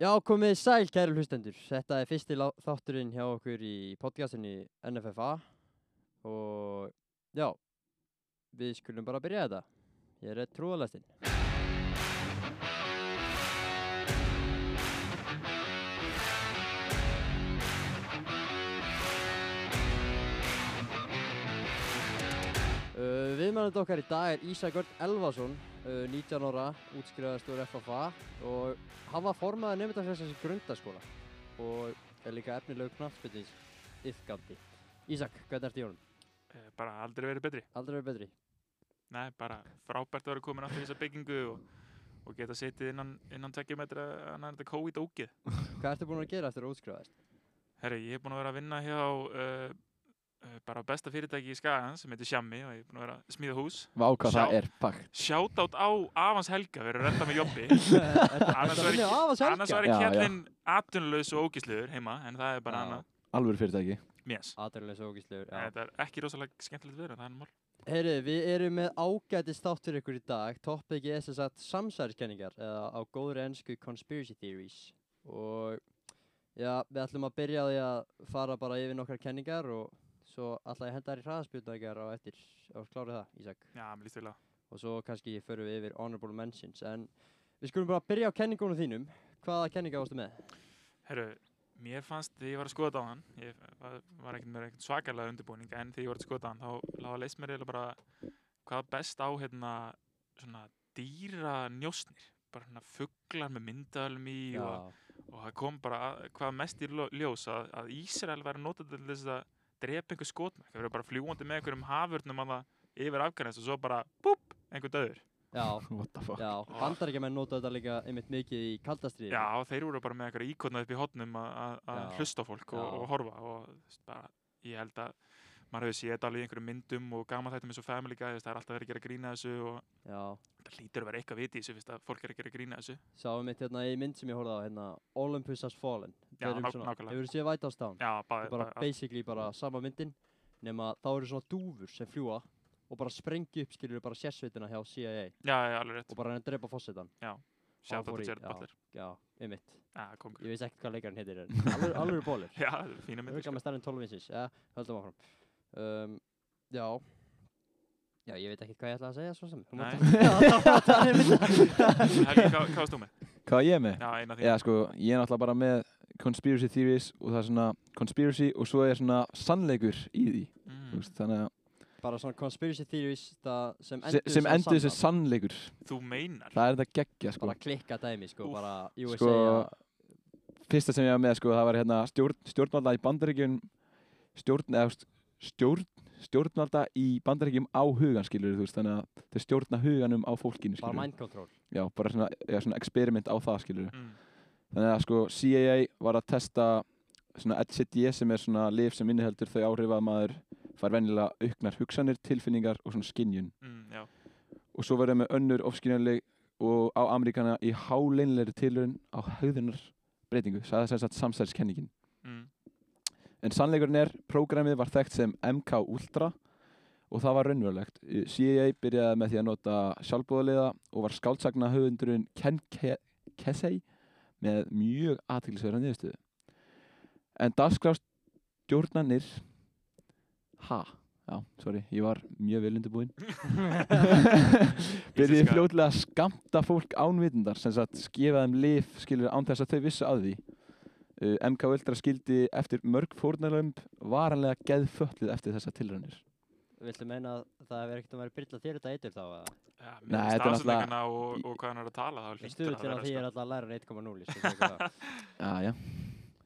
Já, komið þið sæl, kæru hlustendur. Þetta er fyrsti lá- þátturinn hjá okkur í podcastinu NFFA og já, við skulum bara byrja þetta. Ég er trúalastinn. Uh, Viðmælandi okkar í dag er Ísak Örn Elvason, uh, 19 ára, útskrifaðast úr FFA og Hann var formaður nefndafélagsins í grundaskóla og er líka efnilegu knattbyttis yfgandi. Ísak, hvernig ertu í honum? Eh, bara aldrei verið betri. Aldrei verið betri. Nei, bara frábært að vera komin aftur í þessa byggingu og, og geta setið innan, innan tveggja metra annar þetta COVID ógið. Hvað ertu búin að gera eftir að útskrifaðist? Herri, ég hef búin að vera að vinna hjá uh, uh, bara besta fyrirtæki í Skagan sem heitir Sjammi og ég hef búin að vera að smíða hús. Vá hvað Sjá. það er pakt. Shoutout á Avans Helga, við erum að redda með jobbi. Annars Annars var var ég- af að Annars selga. væri Já, já. kjallinn atvinnulegs og ógisluður heima, en það er bara Já. annað. Alvöru fyrirtæki. Mjess. Aðurlega svo ógíslegur, já. Þetta er ekki rosalega skemmtilegt viður, en það er mál. Heyrið, við erum með ágætist þátt fyrir ykkur í dag. Toppikið er sem sagt samsæriskenningar eða á góðri ennsku conspiracy theories. Og já, við ætlum að byrja á því að fara bara yfir nokkar kenningar og svo ætla ég að henda þær í hraðaspjörnækjar á eftir og klára það, Ísak. Já, mér líst vel á. Og svo kannski förum við yfir honorable mentions. En við skulum bara byrja á kenningunum þínum. Hvaða kenninga varstu með? Herru, mér fannst þegar ég var að skoða á hann, ég var, var ekkert með ekkert svakalega undirbúning, en þegar ég var að skoða á hann, þá lág að leist mér eiginlega bara hvað best á hérna svona dýra njósnir, bara hérna fuglar með myndalum í og, og það kom bara að, hvað mest í lo- ljós að, að Ísrael væri notað til þess að drepa einhver skotmæk, það verið bara fljúandi með einhverjum hafurnum að það yfir Afganist og svo bara, búp, einhver döður. Já, What the fuck. já. Bandaríkjamenn nota þetta líka einmitt mikið í kaldastriði. Já, og þeir voru bara með eitthvað íkotnað upp í hotnum að Já. hlusta á fólk og, Já. og horfa og þú veist, bara, ég held að maður hefur séð þetta alveg í einhverjum myndum og gaman þetta með svo family guy, þú veist, það er alltaf verið að gera grína þessu og Já. það lítur að vera eitthvað viti í þessu, fyrst að fólk er að gera grína þessu. Sáum mitt hérna í mynd sem ég horfði á hérna Olympus has fallen Já, Þeir eru nák- svona- nákvæmlega. Hefurðu séð White House Down? Já, bara, Þetta er bara bara basically bara sama myndin nema þá eru svona dúfur sem fljúa og bara sprengi upp skilur bara sérsveitina hjá CIA já, já, alveg rétt. og bara reyna að drepa fósitan Sjá fór í- þetta Jared já. Butler. Já, einmitt Já, kongur. Ég veist ekkert hvað leikarinn heitir en alveg, alveg bólir Já, fína myndir. Örgað Sko. með starfinn 12 vinsins Já, höldum áfram um, Já Já, ég veit ekkert hvað ég ætla að segja svo sem Þú mátt- um. Nei. Já, þá- þá- þá er mynd. Helgi, hvað hvað varst þú með? Hvað er ég með? Já, eina því. Já sko, ég er náttúrulega bara með conspiracy theories og það er svona conspiracy og svo er svona sannleikur í því. Mm. Mm, Veist, þannig að Bara svona conspiracy theories það sem se, endur sem endur þessi sannar. sannleikur. þú meinar. Það er þetta geggja sko. bara klikka dæmi sko, Úff. bara USA Sko, Fyrsta sem ég var með sko, það var hérna stjórn, stjórnvalda í bandaríkjum, stjórn, eða st- stjórn, stjórnvalda í bandaríkjum á hugan skilur þú veist, þannig að þau stjórna huganum á fólkinu bara skilur. mind control Já, bara svona, já, svona experiment á það skilur. Mm, Þannig að sko CIA var að testa svona LCD sem er svona lif sem inniheldur þau áhrif að maður fær venjulega auknar hugsanir, tilfinningar og svona skinjun. mm, já, Og svo verður með önnur ofskinjanleg og á Ameríkana í háleinlegri tilurinn á höfðunar breytingu, sagði þess að samsælskenningin. mm, En sannleikurinn er, prógramið var þekkt sem MK Ultra og það var raunverulegt. Eh, CIA byrjaði með því að nota sjálfbúðaliða og var skáldsagna höfundurinn Ken Ke Kesey með mjög aðtilsverða niðurstöðu. En dagskrástjórnanir ha, já, sorry, ég var mjög vel undirbúinn. Mm. byrjaði Íslenska. fljótlega að skamta fólk ánvitundar sem sagt skefa þeim lif skilur án þess að þau vissu að því. Uh, MK Ultra skildi eftir mörg fórnarlömb varanlega geðföllið eftir þessa tilrænir. viltu meina að það hefur ekkert um að vera byrla þér þetta eitur þá að já, með Nei, þetta er náttúrulega- stafsendingana og, og hvað hann er að tala, þá hlýtur stuðullin að því er sko. alltaf að læra 1.0 sko, tekur það. Ah, Já, já.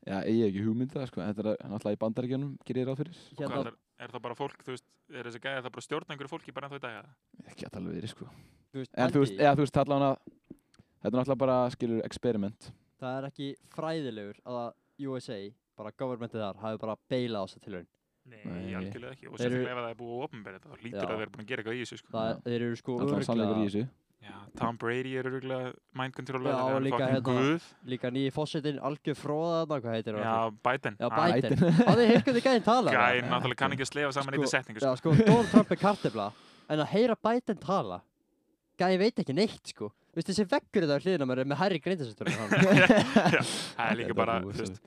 Já, ég hef ekki hugmynd það, sko. Þetta er náttúrulega í bandaríkjunum, gerir ég ráð fyrir. Hvað hérna, er, er það bara fólk, þú veist, er þessi gæði það bara stjórna einhverju fólki bara en í dag? eða? Ekki að tala við þér, sko. þú veist, En þú veist, Andy, eða þú veist, tala hana, þetta er náttúrulega bara, skilur, experiment. það er ekki fræðilegur að USA bara governmentið þar hafi bara beila á þessa tilhörin Nei, Nei. algjörlega ekki. Og Þeir eru- sérstaklega ef það er búið að opnbera þetta, þá lítur Já. það að vera búin að gera eitthvað í þessu, sko. það Já. þeir eru sko Allan sannleikur í örugglega- þessu. Já, Tom Brady er öruglega mind controller, Já, hann er líka fucking hérna- guð. líka nýji fósitinn algjör fróða þarna hvað heitir hann Já, aftur? Biden. já Hann- Biden það er hirkuð í gæðin tala Gæinn náttúrulega kann ekki að slefa saman Sko, einni setningu, já sko. sko Donald Trump er kartefla en að heyra Biden tala gæðin veit ekki neitt sko veist þessi veggur þetta á hliðina á mér er með Harry Greindarsson það er líka Þetta bara, sko. þú rosalegt. veist,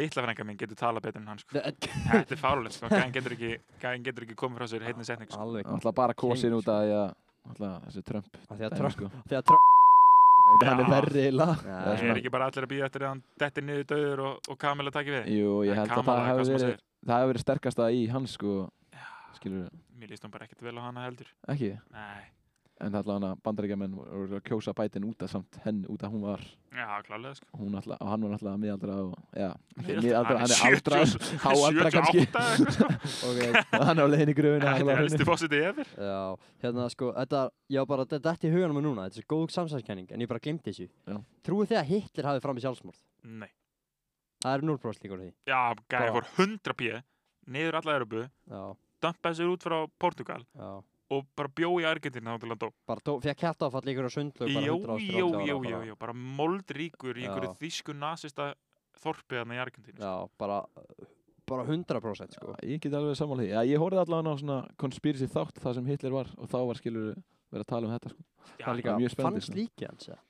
litla frænka mín getur talað betur en hann, sko. alveg Þetta er fárulegt, sko. Gæðin getur ekki, gæðin getur ekki komið frá sér heitni setning, sko. Það ætla bara að kosin út af því að alltaf þessi Trump af því að dæmi, Trump sko. af því að Trump hann er Já. verri eila Já, Það er ekki bara allir að býða eftir að hann dettir niður döður og, og Kamila takir við. Jú, ég En held að Kamala, það hvað hefur sem hann verið það hefur verið sterkasta í hans sko segir. skilur Mér líst hún bara ekkert vel á hana heldur. ekki Nei, en það allavega bandaríkjamenn voru að kjósa bætin út af samt henn út af hún var já, klálega, sko. hún alltaf, og hann var alltaf miðaldra og, já, Miðaldra? miðaldra, hann er Hann er aldra 70 háaldra kannski 78 eða eitthvað, og hann á leiðin í gröfuna Þetta er helsti fósiti yfir. Já, hérna sko, þetta, já bara, þetta er í huganum mér núna, þetta er svo góð samsæðskenning, en ég bara glemti þessu. Já. Trúið þið að Hitler hafi framið sjálfsmorð? Nei. Það er 0% líkur á því. Já, gæði Bara- fór 100 píð, niður alla Európu, Já, dampaði sér út frá Portugal já. og bara bjó í Argentina þá til hann dó. Bara dó, fyrir að kjarta áfall líkur á sundlög bara Jó, 100 ára. jó, jó, jó, jó, bara moldríkur í Já. einhverju þýsku nasista þorpið hann í Argentínu. sko. Já, bara, bara 100% sko. ég get alveg sammála því, já, ég horfði allavega á svona conspiracy þátt það sem Hitler var og þá var skilur verið að tala um þetta sko. Já, það er líka, mjög spennandi, fannst sko. líki hans, eða?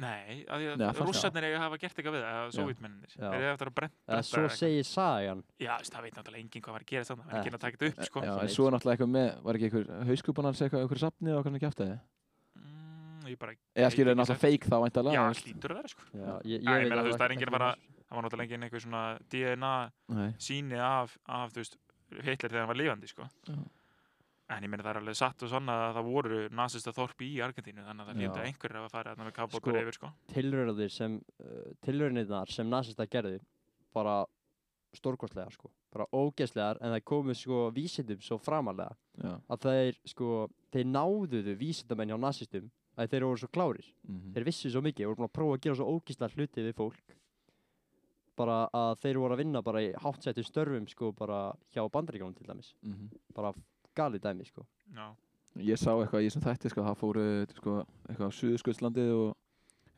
Nei, af því Nei, það að fannst rússarnir eiga að hafa gert eitthvað við það, eða sovítmenninir. Já. Þeir eru eftir að brenn, Eða brenda svo eitthvað. segir sagan. Já, þú veist, það veit náttúrulega enginn hvað var að gera þannig, það Nei. er ekki að taka þetta upp, sko. Svo já, en leitt. svo er náttúrulega eitthvað með, var ekki einhver hauskupan hans eitthvað, einhver safni og hvernig kæfti það Mm, ég bara, eða Ég skilur get ekki náttúrulega fake þá væntalega já, þú veist. hlýtur að vera, sko. Já, ég, ég Já, ég veit meina, þú veist, það er ekki- enginn ekki bara- hans. Það var náttúrulega enginn einhver svona DNA Nei. síni af, af, þú veist, Hitler þegar hann var lifandi, sko. Já. En ég meina, það er alveg satt og svona að það voru nasista þorpi í Argentínu, þannig að það Já. hlýtur einhverjir að fara þarna með kafbókur Sko- yfir, sko. Tilraunir sem, uh, tilraunirnar sem nazista gerði, bara stórkostlegar sko. Bara ógeðslegar, en það komu sko vísindum svo framalega. Já. að þeir sko, þeir náðuðu vísindamenn hjá nazistum að þeir voru svo klárir, Mhm. þeir vissu svo mikið þeir voru búin að prófa að gera svo ógísla hluti við fólk bara að þeir voru að vinna bara í háttsettum störfum sko bara hjá bandaríkjónum til dæmis Mhm. bara gali dæmi sko Já. ég sá eitthvað í þessum þætti sko, það fóru sko, eitthvað á Suðurskjöldslandið og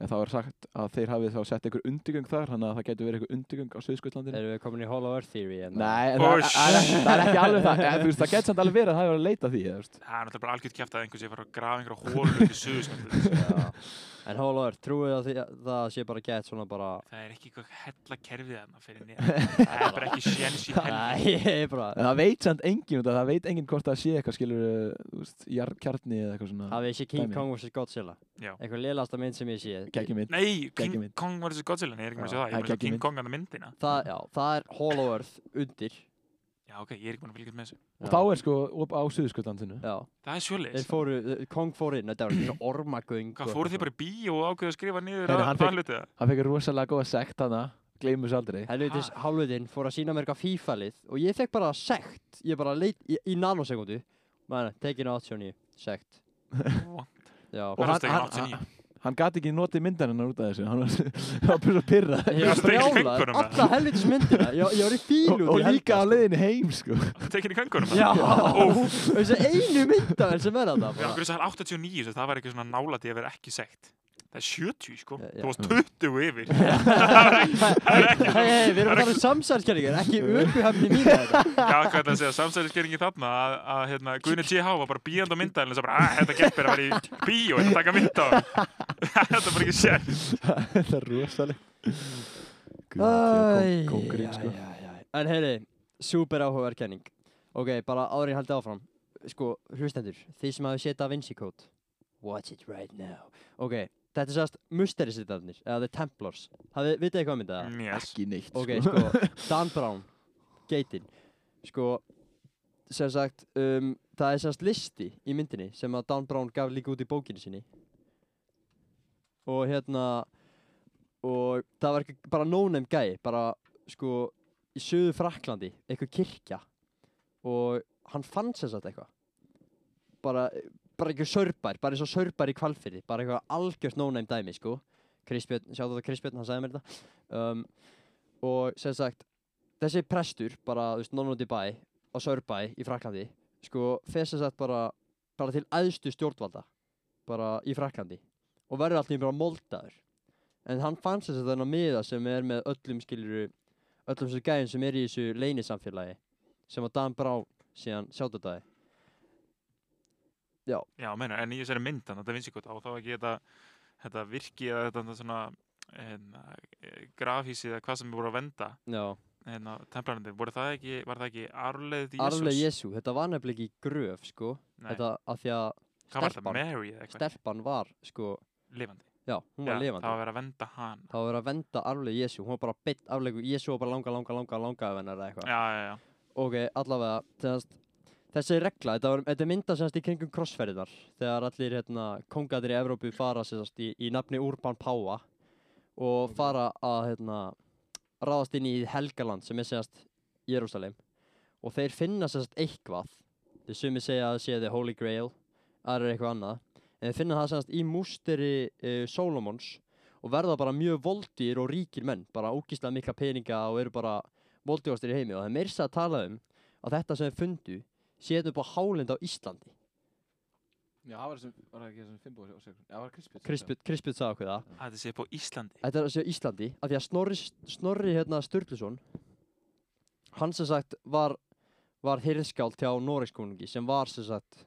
en það var sagt að þeir hafið þá sett einhver undirgöng þar þannig að það getur verið einhver undirgöng á Suðurskjöldslandinu erum við komin í Hall of Earth Theory en Nei, en Oh, það, það, er, það er ekki alveg það en, þú veist, það getur samt alveg verið að það hefur að leita að því eða, þú veist. Það er náttúrulega bara algjört kjæft að einhver sé að fara að grafa einhverja hólur til suðuskjöldið. já. en Hall of Earth trúið að því að það sé bara gett svona bara Það er ekki eitthvað hella kerfið þarna fyrir niður. Það er bara ekki sjens í helvið. Nei, ég er bara en það veit samt engin út af það veit engin hvort það sé eitthvað skilur veist, jar- kjarni eða eitthvað svona hafið þessi King Dæmi. Kong vs Godzilla Já. eitthvað lélasta mynd sem ég sé ekki mynd Nei, Geggjum King mynd. Kong var þessi Godzilla, nei, ég er ekki með að sjá það. Ég er með það er að sjá geggjum King mynd. Kong að myndina. það, já, það er Hall of Earth undir Já, ok, ég er ekki búin að fylgjast með þessu. Já. og þá er sko op- á Suðurskjöldslandinu Já, Það er þeir sjöleis. fóru, eh, Kong fór inn, þetta var svona ormagöng Hvað fóruð þið bara í bíó og ákveðu að skrifa niður Heyrðu, að hann það fékk- hlutið það? hann fekk rosalega góða sekt hana gleymur þessu aldrei Helvitis Ha? hálfutinn fór að sína mér eitthvað FIFA-lið og ég fekk bara sekt, ég bara leit í, í nanosekundu Mæna, tekin á 89, sekt Já, Og hann- Verðast ekki hann- hann gati ekki notið myndan hennar út af þessu hann var hann var bara svo pyrra ég varstu var ekki í brjálað, fengunum, eða? alla helvitis myndina, ég, ég var í fílu og, út í og helga, líka á sko. leiðinu heim sko Tekin í köngunum? Já, Úff. þessi einu myndavel sem er þetta Já, okkur þess að það er 89, svo það var ekki svona nálæti að vera ekki sekt. Það er 70, sko. Já, já. Þú Mm. varst 20 yfir. Hei, hei, við erum að tala um samsælskjæringar, ekki ökuhefni mín þetta Já, hvað ætlaði að segja, samsæðisgeringi þarna að, að hérna, Guðni T.H. var bara bíjandi á myndælinn og svo bara, að þetta geppir að vera í bíó en að taka mynd á honum." Þetta er bara ekki sér Þetta er rosaleg Æ, Kongurinn æ, sko æ, æ, æ. En heyri, super áhugaverð kenning Ok, bara áður en ég haldi áfram Sko, hlustendur, þið sem hafi séð Da Vinci Code Watch it right now Ok, þetta er sérst Musterisitarnir, eða The Templars Hafið, vitið eitthvað myndið það? yes. Ekki neitt Ok, sko, Dan Brown Geitin Sko, sem sagt um, Það er sérst listi í myndinni sem að Dan Brown gaf líka út í bókinu sinni og hérna og það var eitthvað bara no-name gæi bara sko í söðu Fraklandi eitthvað kirkja og hann fann sér satt eitthvað bara, bara eitthvað sörbær bara eins og sörbær í kvalfyrði bara eitthvað algjört no-name dæmi sko Kristbjörn, sjáttu þetta Kristbjörn, hann sagði mér þetta um, og sem sagt þessi prestur bara, þú veist, nonnundi bæ á sörbæ í Fraklandi sko, fer sem sagt bara bara til aðstu stjórnvalda bara í Fraklandi og verður alltaf bara moldaður en hann fann sér þetta þennan miða sem er með öllum skiluru öllum þessu gæðin sem er í þessu leynisamfélagi sem að Dan Brá síðan sjáttudaði Já, meina, en í þessari mynd þannig að það vinsi gott á þá ekki þetta þetta virki eða þetta svona hérna, eh, grafhýsi eða hvað sem er voru að venda já. hérna, templarnir, voru það ekki, var það ekki arfleðið Jésús? Arfleif Jésu, þetta var nefnilega ekki gröf sko, Nei, þetta að því að hvað var þetta, stelpan. Mary eða eitthvað, stelpan var sko, lifandi? já, hún var Já, lifandi. það var verið að venda hana. Það var verið að venda arfleif Jésu, hún var bara beitt arfleif Jésu og bara langa, langa, langa, langa af hennar eða eitthvað. Já, já, já, Ok, allavega, þess, þessi regla, þetta, var, þetta mynda semst í kringum krossferðinar þegar allir hérna, kongadir í Evrópu fara semst í, í nafni Urban Páa og Ok. fara að hérna, ráðast inn í Helgaland sem er semst Jérúsalem og þeir finna semst eitthvað þeir sumi segja að það sé the Holy Grail aðra eitthvað annað en þeir finna það semst í músteri uh, Solomons og verða bara mjög voldýr og ríkir menn bara ógíslega mikla peninga og eru bara voldigastir í heimi og það er meirsa að tala um að þetta sem þeir fundu séð upp á hálind á Íslandi Já, það var sem, var það ekki sem Finnbóð Já, það var Krispjörn Krispjút sagði okkur það að þetta sé upp á Íslandi. þetta er að séð á Íslandi af því að Snorri, Snorri hérna, Sturluson hann sem sagt var var hirðskáld hjá Noregskonungi sem var sem sagt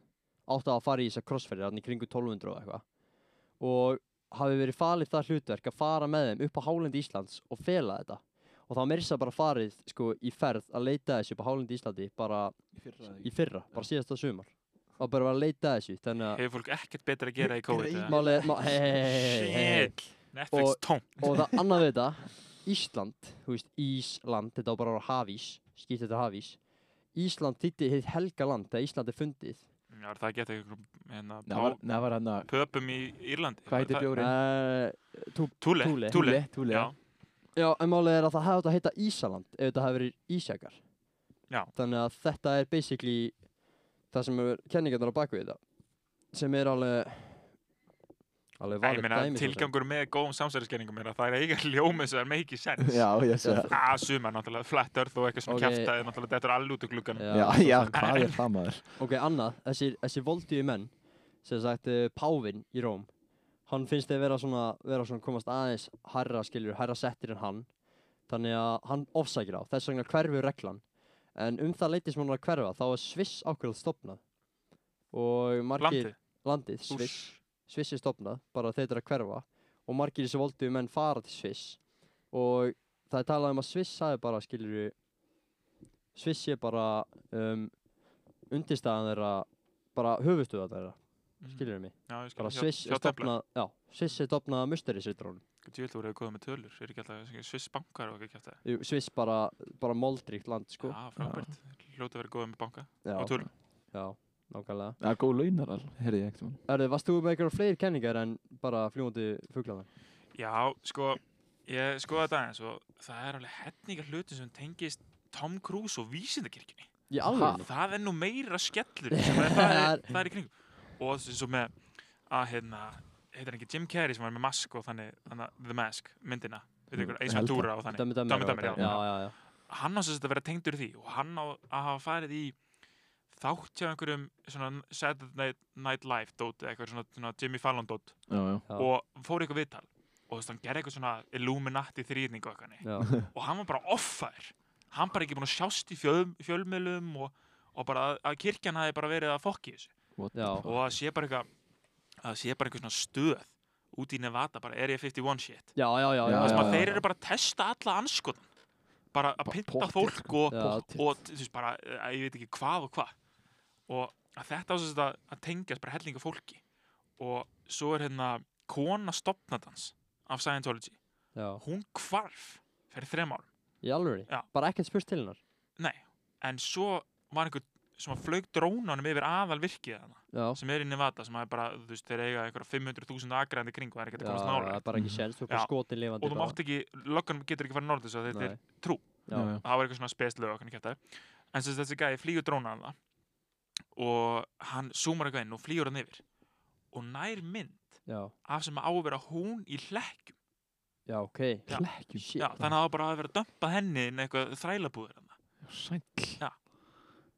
átt að fara í þessar krossferðir hann í kringu 1200 og eitthvað og hafi verið falið það hlutverk að fara með þeim upp á hálendi Íslands og fela þetta og það var meirsa bara farið sko í ferð að leita þessu upp á hálendi Íslandi bara Í fyrra í fyrra, bara síðasta sumar og bara var að leita að þessu þannig Hefur fólk ekkert betra að gera í COVID? að eða? málið er má, hei, hei, hei, hei. Shit, Netflix Og- tóm. og það annað við þetta Ísland, þú veist Ísland þetta var bara að vera hafís, skýtt þetta hafís Ísland þýtti hitt helga land þegar Ísland er fundið Já, er það geta einhverjum hérna, Nei, það var- pá- nei, það var hann að pöpum í Írlandi. Hvað heitir Það- bjórinn? uh, Túle. Túle. Túle. Túle Já, Já, en málið er að það hefði átt að heita Ísaland ef þetta hefði verið Ísjakar Já. Þannig að þetta er basically það sem er kenningarnar á baku þetta sem er alveg alveg Nei, ég valið meina, dæmi svo sem. tilgangur með góðum samsæriskenningum er að það er eiginlega ljómið sem er meikið sens. Já, ég sé Já, það Ah, sumar náttúrulega, flat earth og eitthvað sem Ok. okay. kæftæði náttúrulega, þetta er allir út úr glugganum. Já. Já, já, hvað er það maður? Ok, annað, þessir, þessir voldíu menn sem sagt uh, Pávin í Róm hann finnst þeir vera svona, vera svona komast aðeins herra skilur, herra settir en hann þannig að hann ofsækir á þess vegna hverfur reglan en um það leiti sem hann var að hverfa þá er Sviss ákveðið stopnað og margir Landið, landið, hús, Sviss, Sviss er stopnað bara þeir eru að hverfa og margir þessi voldíu menn fara til Sviss og það er talað um að Sviss sagði bara skilur Sviss sé bara um, undirstaðan þeirra bara höfustuða þeirra, Mhm. skilur mig Já, ég skil. bara Hjá- Sviss hjá er Templar. stopnað já, Sviss er stopnað musteri sitrónum Djöfull voru þau góð með tölur, er ekki alltaf svona Sviss bankar og ekki kæftæði. Sviss bara, bara moldríkt land sko Já, frábært, hljóta verið góð með banka já, á tölum. já, nákvæmlega Það er góð launar alveg, heyrði ég ekkert Erðu, varst þú með einhverjar fleiri kenningar en bara fljúandi fugglaðan? Já, sko, ég skoða þetta aðeins og það er alveg hetningar hluti sem tengist Tom Cruise og vísindakirkjunni. Í Ha? alveg? Það er nú meira skellur sem er, það, er, það er í kringum. Og eins og með, að hérna, heitir ekki Jim Carrey sem var með Mask og þannig, þannig að The Mask, myndina, við Mm, ykkur Ace Helga. Ventura og þannig. Dömmi dömmi Dummy Dummy, já. já, já, já. hann á sem sagt að vera tengdur því og hann á að hafa farið í þátt hjá einhverjum svona Saturday Night Live dót eða eitthvað svona, svona Jimmy Fallon dót Já, já Já. og fór í eitthvað viðtal og þú veist hann gerði eitthvað svona Illuminati þrýðning og eitthvað nei. Já, og hann var bara offaður hann bara ekki búin að sjást í fjöl, fjölmjölum og, og bara að, að kirkjan hafi bara verið að fokki þessu What the já, fuck? og það sé bara eitthvað það sé bara eitthvað svona stöð út í Nevada bara Area 51 shit já, já, já, Já, það sem að já, þeir já. eru bara að testa alla anskotan bara að Bara pynta pottþétt, fólk og, Já, og, og þú veist bara, eh, ég veit ekki hvað og hvað og að þetta á þess að, að tengjast bara hellinga fólki og svo er hérna kona stopnadans af Scientology já. hún hvarf fyrir þrem árum Í alveg? Já. Bara ekkert spurst til hennar? nei, en svo var einhver sem að flaug drónanum yfir aðal virkið hana, Já. sem er í Nevada sem er bara, þú veist, þeir eiga einhverja 500.000 agrandi kring og það er ekki að komast það nála er bara ekki Mhm. séns, þú Já. er skotin lifandi og þú mátt ekki, löggan getur ekki farið norður svo þetta er Nei. trú. Já, já, það var eitthvað svona speslög og hvernig kæftæði en sem sagt þessi gæði flýgur drónan það og hann zoomar eitthvað inn og flýgur hann yfir og nær mynd já, af sem á að vera hún í hlekkjum já, ok Já. Klekkjum Shit. Já, þannig að það var bara að vera að dömpa henni inn í eitthvað þrælabúður hann Sæll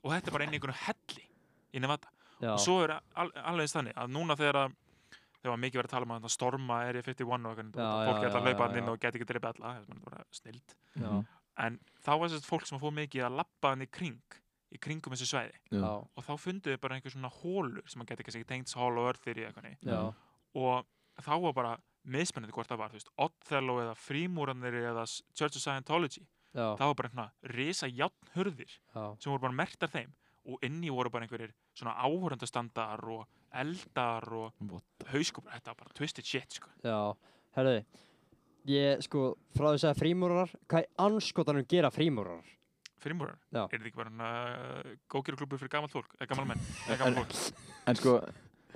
og þetta er bara inn í einhvern helli í Nevada Já, og svo er al alveg eins þannig að núna þegar að þegar var mikið verið að tala um að þetta storma er í 51 og Já, eitthvað og fólk já, geta að já, laupa já, hann inn já. og geta ekki dreipið alla það er bara snild já, en þá var þess að fólk sem að fóð mikið að lappa hann í kring í kringum þessu svæði já, og þá funduðu bara einhver svona hólur sem að geta kannski tengt hollow earth þeirri eitthvað já, og þá var bara mismunandi hvort það var, þú veist, Othello eða Frímúranir eða S- Church of Scientology já, það var bara einhverja risa játnhurðir já, sem voru bara mertar þeim og inni voru bara einhverjir svona áhörundastandar og eldar og What hauskupar, þetta var bara twisted shit sko. já, herðu, ég sko, frá því að segja frímúrarar, hvað er anskotanum gera frímúrarar? Frímúrar, Já. er þetta ekki bara uh, góðgeruklubu fyrir gamalt fólk, eða gamal menn eða gamal fólk, En sko,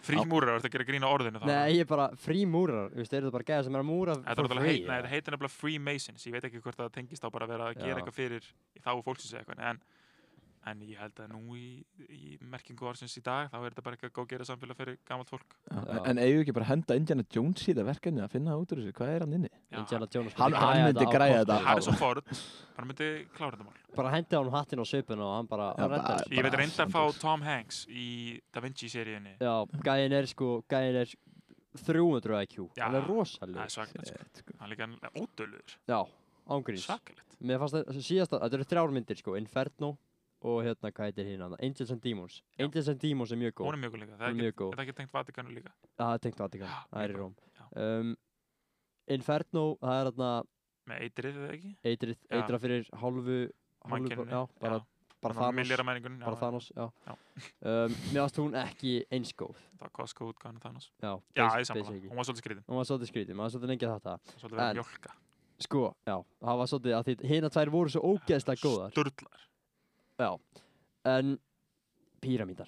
frímúrar, þetta gerir grína orðinu það Nei, ég er bara frímúrarar, þú veist, eru það bara gæða sem er að múra for Þetta, heit, free, heit, nei, eða? þetta heitir nefnilega Freemasons, ég veit ekki hvort það tengist á bara að vera að Já. gera eitthvað fyrir í þá fólksins eða eitthvað, en, en ég held að nú í, í merkingu ársins í dag, þá er þetta bara eitthvað góð gera samfélag fyrir gamalt fólk. Já. en eigum við ekki bara að henda Indiana Jones í það verkefni að finna það út úr þessu, hvað er hann inni? Já, Indiana Jones Hann- myndi hann græja myndi á kortinu. græja þetta á- Harrison Ford, hann myndi klára þetta mál. Bara hendi á hann hattin og svipun og hann bara, hann Já, reddar bara- þessu. Ég veit reynda að fá Sanders. Tom Hanks í Da Vinci-seríunni. Já, gæðin er sko, gæðin er 300 IQ, Já. hann er Það er rosaleg svakalegt, sko. Shit, sko. Hann er líka ódöluður. Já, ángurins Svakalegt. Mér fannst það síðast að, þetta eru þrjár myndir sko, Inferno og hérna, hvað heitir hérna, Angels and Demons Já. Angels and Demons er mjög góð, Hún er mjög góð líka. Það Hún er er mjög ekki, góð. er það ekki tengt Vatikanu líka. það er tengt Vatikan, Já, það er í mjög Róm um, Inferno, það er hérna Með eitrið eða ekki? eitrið, Já. eitra fyrir hálfu, hálfu Mannkyninu, já, bara, bara Millera Thanos menningun. bara Thanos, já, Já. Um, Mér fannst hún ekki eins góð Það var Costco útgáðan Thanos. Já, Já, bas- ég basic samanlega. ekki. Hún var svolítið skriðin. Hún var svolítið skrítið, maður svolítið lengi að þetta Svolítið verið En- mjölka. Sko, já, það var svolítið að því hérna tvær voru svo ógeðslega góðar Sturlar. En píramítar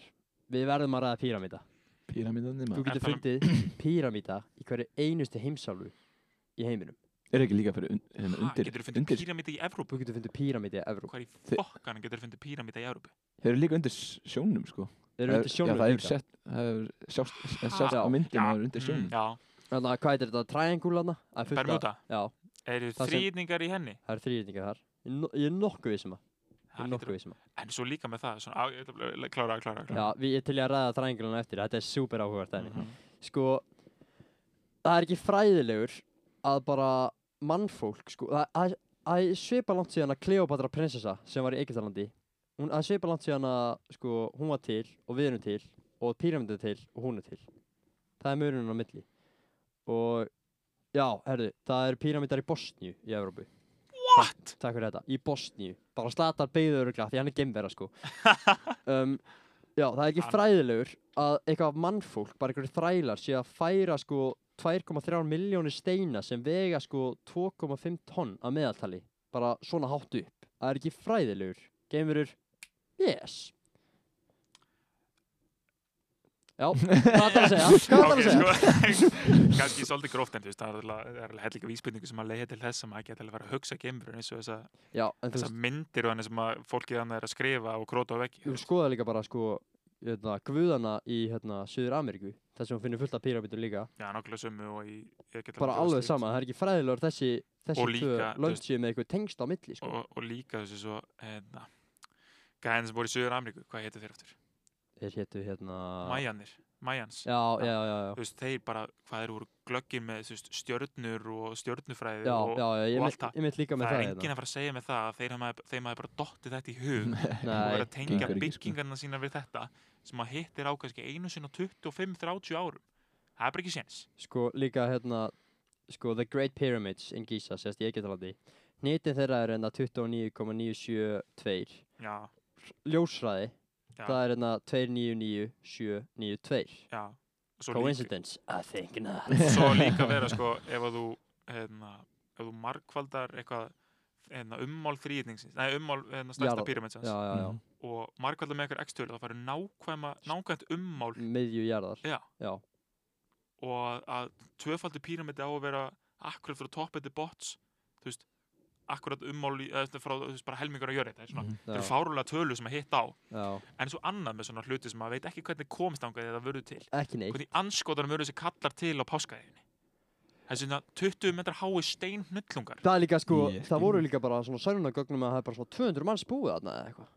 Við verðum að ræða píramíta Píramíðan Þú nema. getur En fundið píramíta í hverju einustu heimsálfu í heiminum Er ekki líka fyrir un, hérna Ha, undir, getur þú fundið undir, píramíta í Evrópu? Þú getur fundið píramíta í Evróp Hvað í Þi- fokkan getur þú fundið píramíta í Evrópu? þeir eru líka undir s- sjónum, sko. Þeir eru Það- undir sjónum Já, það hefur sett, það hefur sjást, sjást Já. á myndum að það eru undir mm, sjónum. já. Þannig að hvað er þetta? Triangulana? Bermuda. Já, Eru Það sem- þrýningar í henni? það eru þrýrýtingar þar Ég er no- Ég er nokkuð vissum að Ég Ha, er getur- Um nokkuð vissum að En svo líka með það, svona, á, ég ætla að klára, klára, klára. Já, við ég er til ég að ræða triangulana eftir Þetta er super áhugavert aðeins Mhm. Sko, það er ekki fræðilegur að bara mannfólk sko, það- það það er svipa langt síðan að Kleopatra prinsessa sem var í Egyptalandi hún það er svipa langt síðan að sko, hún var til og við erum til og píramindin er til og hún er til það er mörunum á milli og já, herðu, það eru píramindar í Bosníu í Evrópu What? Takk fyrir þetta, í Bosníu bara slatar beigður og því hann er gemvera sko um, Já, það er ekki Hann- fræðilegur að eitthvað mannfólk, bara einhverju þrælar sé að færa sko 2,3 miljónir steina sem vega sko 2,5 tonn að meðaltali bara svona hátt upp, það er ekki fræðilegur geimurur, yes Já, hvað það að segja? Hvað það að sko. segja? segja? Kanski svolítið gróft en þú veist, það er alveg- það er alveg hellinga vísbyrningu sem að leiða til þess að maður geti alveg verið að hugsa geimverun eins og þessa, Já, en þú þessa veist, myndir og þannig sem að fólkið hann er að skrifa og króta á veggi. þú skoðar líka bara sko hérna, guðana í hérna, Suður Ameríku, þar sem hún finnur fullt af píramítur líka Já, nákvæmlega sömu og í... ég get bara alveg alveg skýrt. sama, það er ekki fræðilegur þessi, þessi Og líka, tvö þú veist- lönd séu með eitthvað tengst á milli sko. Og, og líka þessu svo, hérna, gæðin sem voru í Suður Ameríku, hvað hétu þeir aftur? Þeir héttu hérna Majanir, Majans. Já, Já. já, já, já Þú veist, þeir bara, hvað þeir voru glöggir með þú veist, stjörnur og stjörnufræði Já, og... já, já, ég mynd, og allt það. ég mynd líka Það með er það hérna. enginn að fara að segja með það að þeir hafa- þeim hafi bara dottið þetta í hug og Nei, verið að tengja gengur ekki, sko. byggingarna sína við þetta sem að hittir á kannski einu sinna 25-30 árum það er bara ekki séns sko líka hérna Sko, The Great Pyramids in Giza, sérst í Egyptalandi Nýtin þeirra er hérna 29,972 já, Ljósræði, já, það er hérna 2999792 já Og svo líka, Coincidence, I think not svo líka vera sko ef að þú hérna, ef þú markvaldar eitthvað hérna, ummál þrýðningsins, nei ummál hérna, stærsta Jarðar- pyramidsins Já, já, já, Mhm. og markvaldar með eitthvað x-tölu þá færðu nákvæma, nákvæmt ummál miðju jarðar já, Já, og að tvöfaldi píramidi á að vera akkurat frá toppið til bots þú veist, akkurat ummál í- eða þú veist, frá, þú veist, bara helmingur að jöri þetta er svona, Mhm. þetta já, eru fárulega tölur sem að hitta á já en svo annað með svona hluti sem maður veit ekki hvernig komst ánga þegar það vörðu til Ekki neitt hvernig anskotanum vörðu þessi kallar til á páskaðinni þessi svona 20 metrar hái steinhnullungar Það er líka sko, Ég skil. það voru líka bara svona sörnunagögnum að það er bara svona 200 manns búið þarna eða eitthvað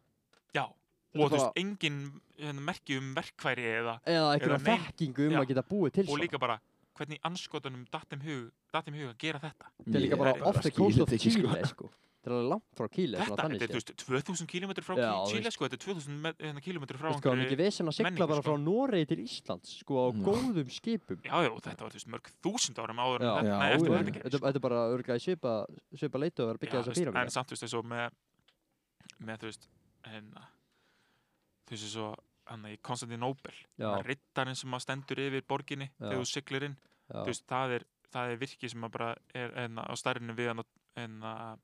já, Þetta og er þú bara- veist, engin hérna, merki um verkværi eða, Eða Eða einhverja nein- þekkingu um Já. að geta búið til og svona. líka bara hvernig anskotanum dattum hug, dattum hug að gera þetta Þetta er líka bara Ég off the skil coast of þetta ekki, Chile, sko. þetta er alveg langt frá Kíli Þetta, þetta er, þú veist, 2000 km frá sko. Já, þú Chile, sko, þetta er 2000 me- hérna, km frá Veist hvað, hann ekki vesen að sigla menningu, bara sko. frá Noregi til Íslands, sko, á Já. góðum skipum. Já, já, og þetta var, þú veist, mörg þúsund árum áður en Já, þetta, Já, nei, eftir já. að þetta þetta gerist. þetta er bara örgæði svipa, svipa leitu að vera að byggja Já, þessa þú veist, píramída. En samt, þú veist, eins og með, með, þú veist, hérna, þú veist, eins og, hann í Konstantinóbel, Já, rittarinn sem að stendur yfir borginni Já. þegar þú siglir inn, já, þú veist, það er, það er virki sem að bara er, hérna, á starrinu við hann, hérna,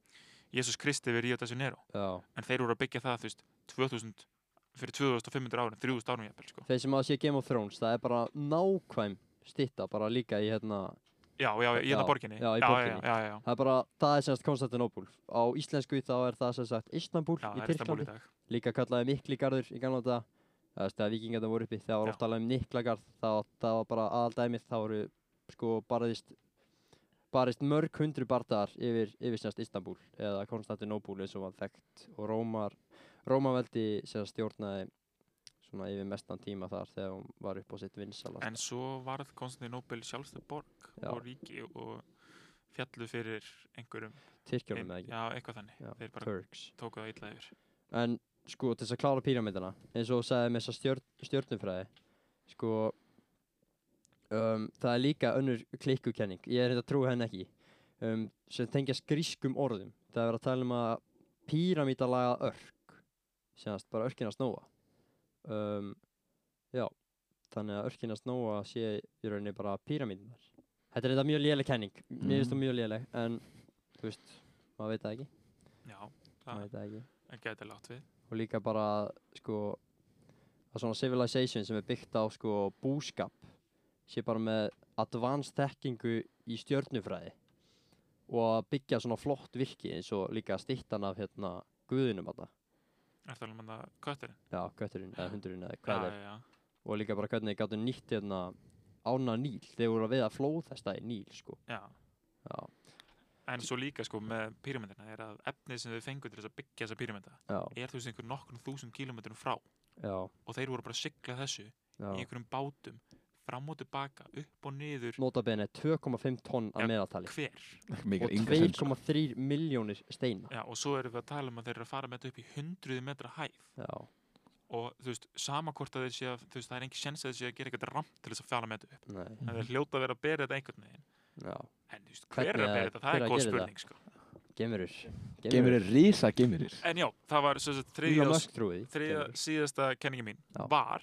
Jésús Kristi við Ríó de Janeiro. já. En þeir voru að byggja það, þú veist, 2000, fyrir 2500 árum, 3000 árum, jafnvel, sko. Þeir sem að sé Game of Thrones, það er bara nákvæm stitta, bara líka í hérna, Já, já, í þetta Já, borginni. já, í borginni. Já, já, já, já. það er bara, það er semst Konstantinopul. Á íslensku þá er það sem sagt Istanbul Já, í það er Istanbul í Tyrklandi. dag. Líka kallaði Miklagarður í gamla þetta, það veist, þegar vikingarnir voru uppi, það var Já. oft alveg um Miklagarð, það, það var bara aðaldæmið, það voru, sko, barðist, barðist mörg hundru barðar yfir, yfir semst Istanbul eða Konstantinopul eins og var þekkt og Rómar, Rómaveldi sem stjórnaði svona yfir mestan tíma þar þegar hún var upp á sitt vinsalast. En svo varð Konstantinóbel sjálfstæð borg Já. og ríki og fjallu fyrir einhverjum. Tyrkjónum eða ein- ekki, já, eitthvað þannig. Já, Þeir bara Turks. tóku það illa yfir. En sko, til þess að klára píramidana, eins og þú sagði með þessa stjörn, stjörnufræði, sko, um, það er líka önnur klikkukenning, ég er þetta trú henni ekki, um, sem tengjast grískum orðum. Það er verið að tala um að píramídalaga örk, séðast bara örkin að snóa. Um, já, þannig að örkin að snóa sé í rauninni bara píramídunar. Þetta er þetta mjög léleg kenning, mér Mhm. finnst það mjög léleg, en þú veist, maður veit það ekki, Já, maður það veit það ekki gæti látt við. og líka bara sko að svona civilization sem er byggt á sko búskap sé bara með advanced þekkingu í stjörnufræði og að byggja svona flott virki eins og líka stýttan af hérna guðinum að Er það alveg mann að kötturinn? já, götturinn eða hundurinn eða hvað það er Já, já, og líka bara hvernig gáttu nýtt hérna ána nýl, þeir voru að veiða flóð þesta í nýl sko já. já, En svo líka sko með píramindina er að efnið sem þau fengu til þess að byggja þessa píraminda já, er þú veist einhver nokkrum þúsund kílómetrum frá já, og þeir voru bara að sigla þessu í já. einhverjum bátum fram og tilbaka, upp og niður nota bene 2,5 tonn Já, að meðaltali hver. og Mikið enga sens. 2,3 miljónir steina Já, og svo erum við að tala um að þeir eru að fara með þetta upp í hundruði metra hæð já, og þú veist, sama hvort að þeir séu að þú veist, það er engin sjens að þeir séu að gera eitthvað ramt til þess að fjala með þetta upp, nei, en þeir hljóta að vera að bera þetta einhvern veginn, já en þú veist, hver er Hvernig að að- bera þetta, það hver er að góð gera spurning sko. Gemurir. Geimur er risa geimurir. en já, það var svo, svo, Ílon þriðja, Musk trúið. þriðja síðasta kenningi mín Já. var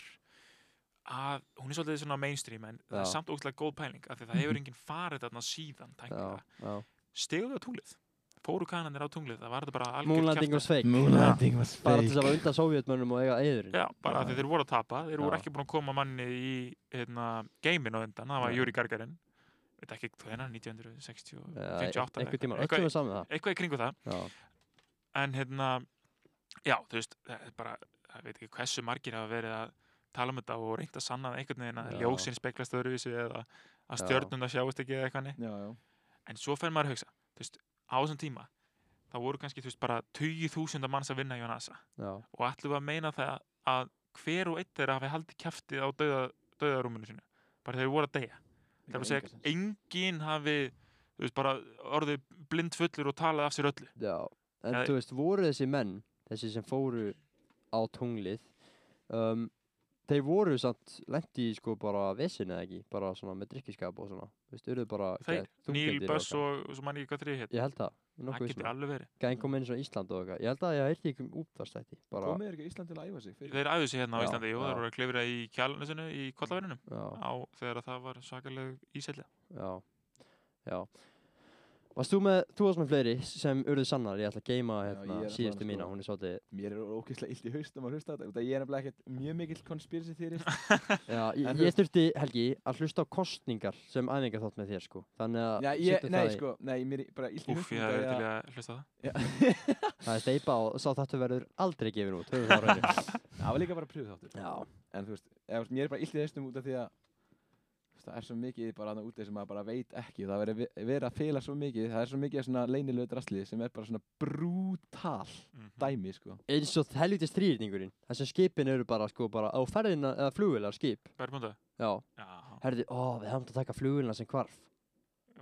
að hún er svolítið svona mainstream en það er Já. samt ógæslega góð pæling af því það hefur enginn farið þarna síðan Já, tæknilega. já. steguðu á tunglið, fóru kananir á tunglið það var þetta bara Moonlanding kjaftæði. was fake. Moonlanding was Bara til þess að fake. vera undan sovjetmönnum og eiga eðurinn. Já, bara af því Já. þeir voru að tapa, þeir voru Já. ekki búin að koma manni í hérna, geimin á undan, það var Nei. Júri Gargarinn, veit ekki hvenær, 1960, e- 58 Eitthvað tíma, öll sem eitthvað, við saman það. eitthvað í kringu það, Já, en hérna, já, þú veist, það er bara, ég veit ekki hversu margir hafa verið að tala um þetta og reynda að sanna það einhvern veginn að Já. ljósin speklast öðruvísi eða að Já. stjörnum það sjáist ekki eða eitthvað hannig, Já, já. en svo fer maður að hugsa, þú veist, á þessum tíma, þá voru kannski, þú veist, bara 20.000 manns að vinna hjá NASA já, og ætlum við að meina það að hver og einn þeirra hafi haldið kæftið á dauða, dauðarúminu sínu bara þeir voru að deyja það er að segja að enginn hafi þú veist, bara orðið blind fullur og talað af sér öllu já. En Eða- þú veist, voru þessi menn, þessi sem fóru á tunglið, um, þeir voru samt lendi í sko bara vesinu eða ekki, bara svona með drikkiskap og svona. Þú veist, urðu bara Þeir, geðveikt þunglyndir Neil Buss eitthvað. og, og svo mann ég hvað þrið hétt Ég held það, ég er það nokkuð getur vissum. alveg verið Gæn kom inn svona Ísland og eitthvað. Ég held að ég heyrði ekki um útvarstætti, bara, Komið er ekki Ísland til að æfa sig fyrir. þeir æðu sig hérna á Já, Íslandi og já. þeir voru að klifra í kjálunusinu í kollaverunum já. á þegar að það var sakaleg ísælja Já, já. Varst þú með, þú varst með fleiri sem urðu sannar, ég ætla að geima Já, hérna ég er síðustu allavega mína, sko- hún er svolítið, Mér er ógeðslega illt í haustum að hlusta á þetta. út af Ég er nefnilega ekkert mjög mikill conspiracy theorist. já, ég, En þú ég þurfti, Helgi, að hlusta á kostningar sem æfingar þátt með þér, sko, þannig að Já, ég, setjum nei, það í- sko, nei, mér er bara illt í úff, haustum. ég hefði út af verið því til að hlusta á það að- það er steipa og sá þetta verður aldrei gefin út, höfum það ræður. Það var líka bara pröfuð þáttur. já, en þú veist, eða, þú veist, mér er bara illt í þessum út af því að þú veist, það er svo mikið bara að úti sem maður bara veit ekki það er verið að fela svo mikið, það er svo mikið af svona leynilegu drasli sem er bara svona brútal Mhm. dæmi, sko eins og helviti strýrningurinn, þess að skipin eru bara, sko, bara á ferðina, eða flugvilar skip, Bermúda? já, Já, herði, ó, við hefum að taka flugvilna sem hvarf,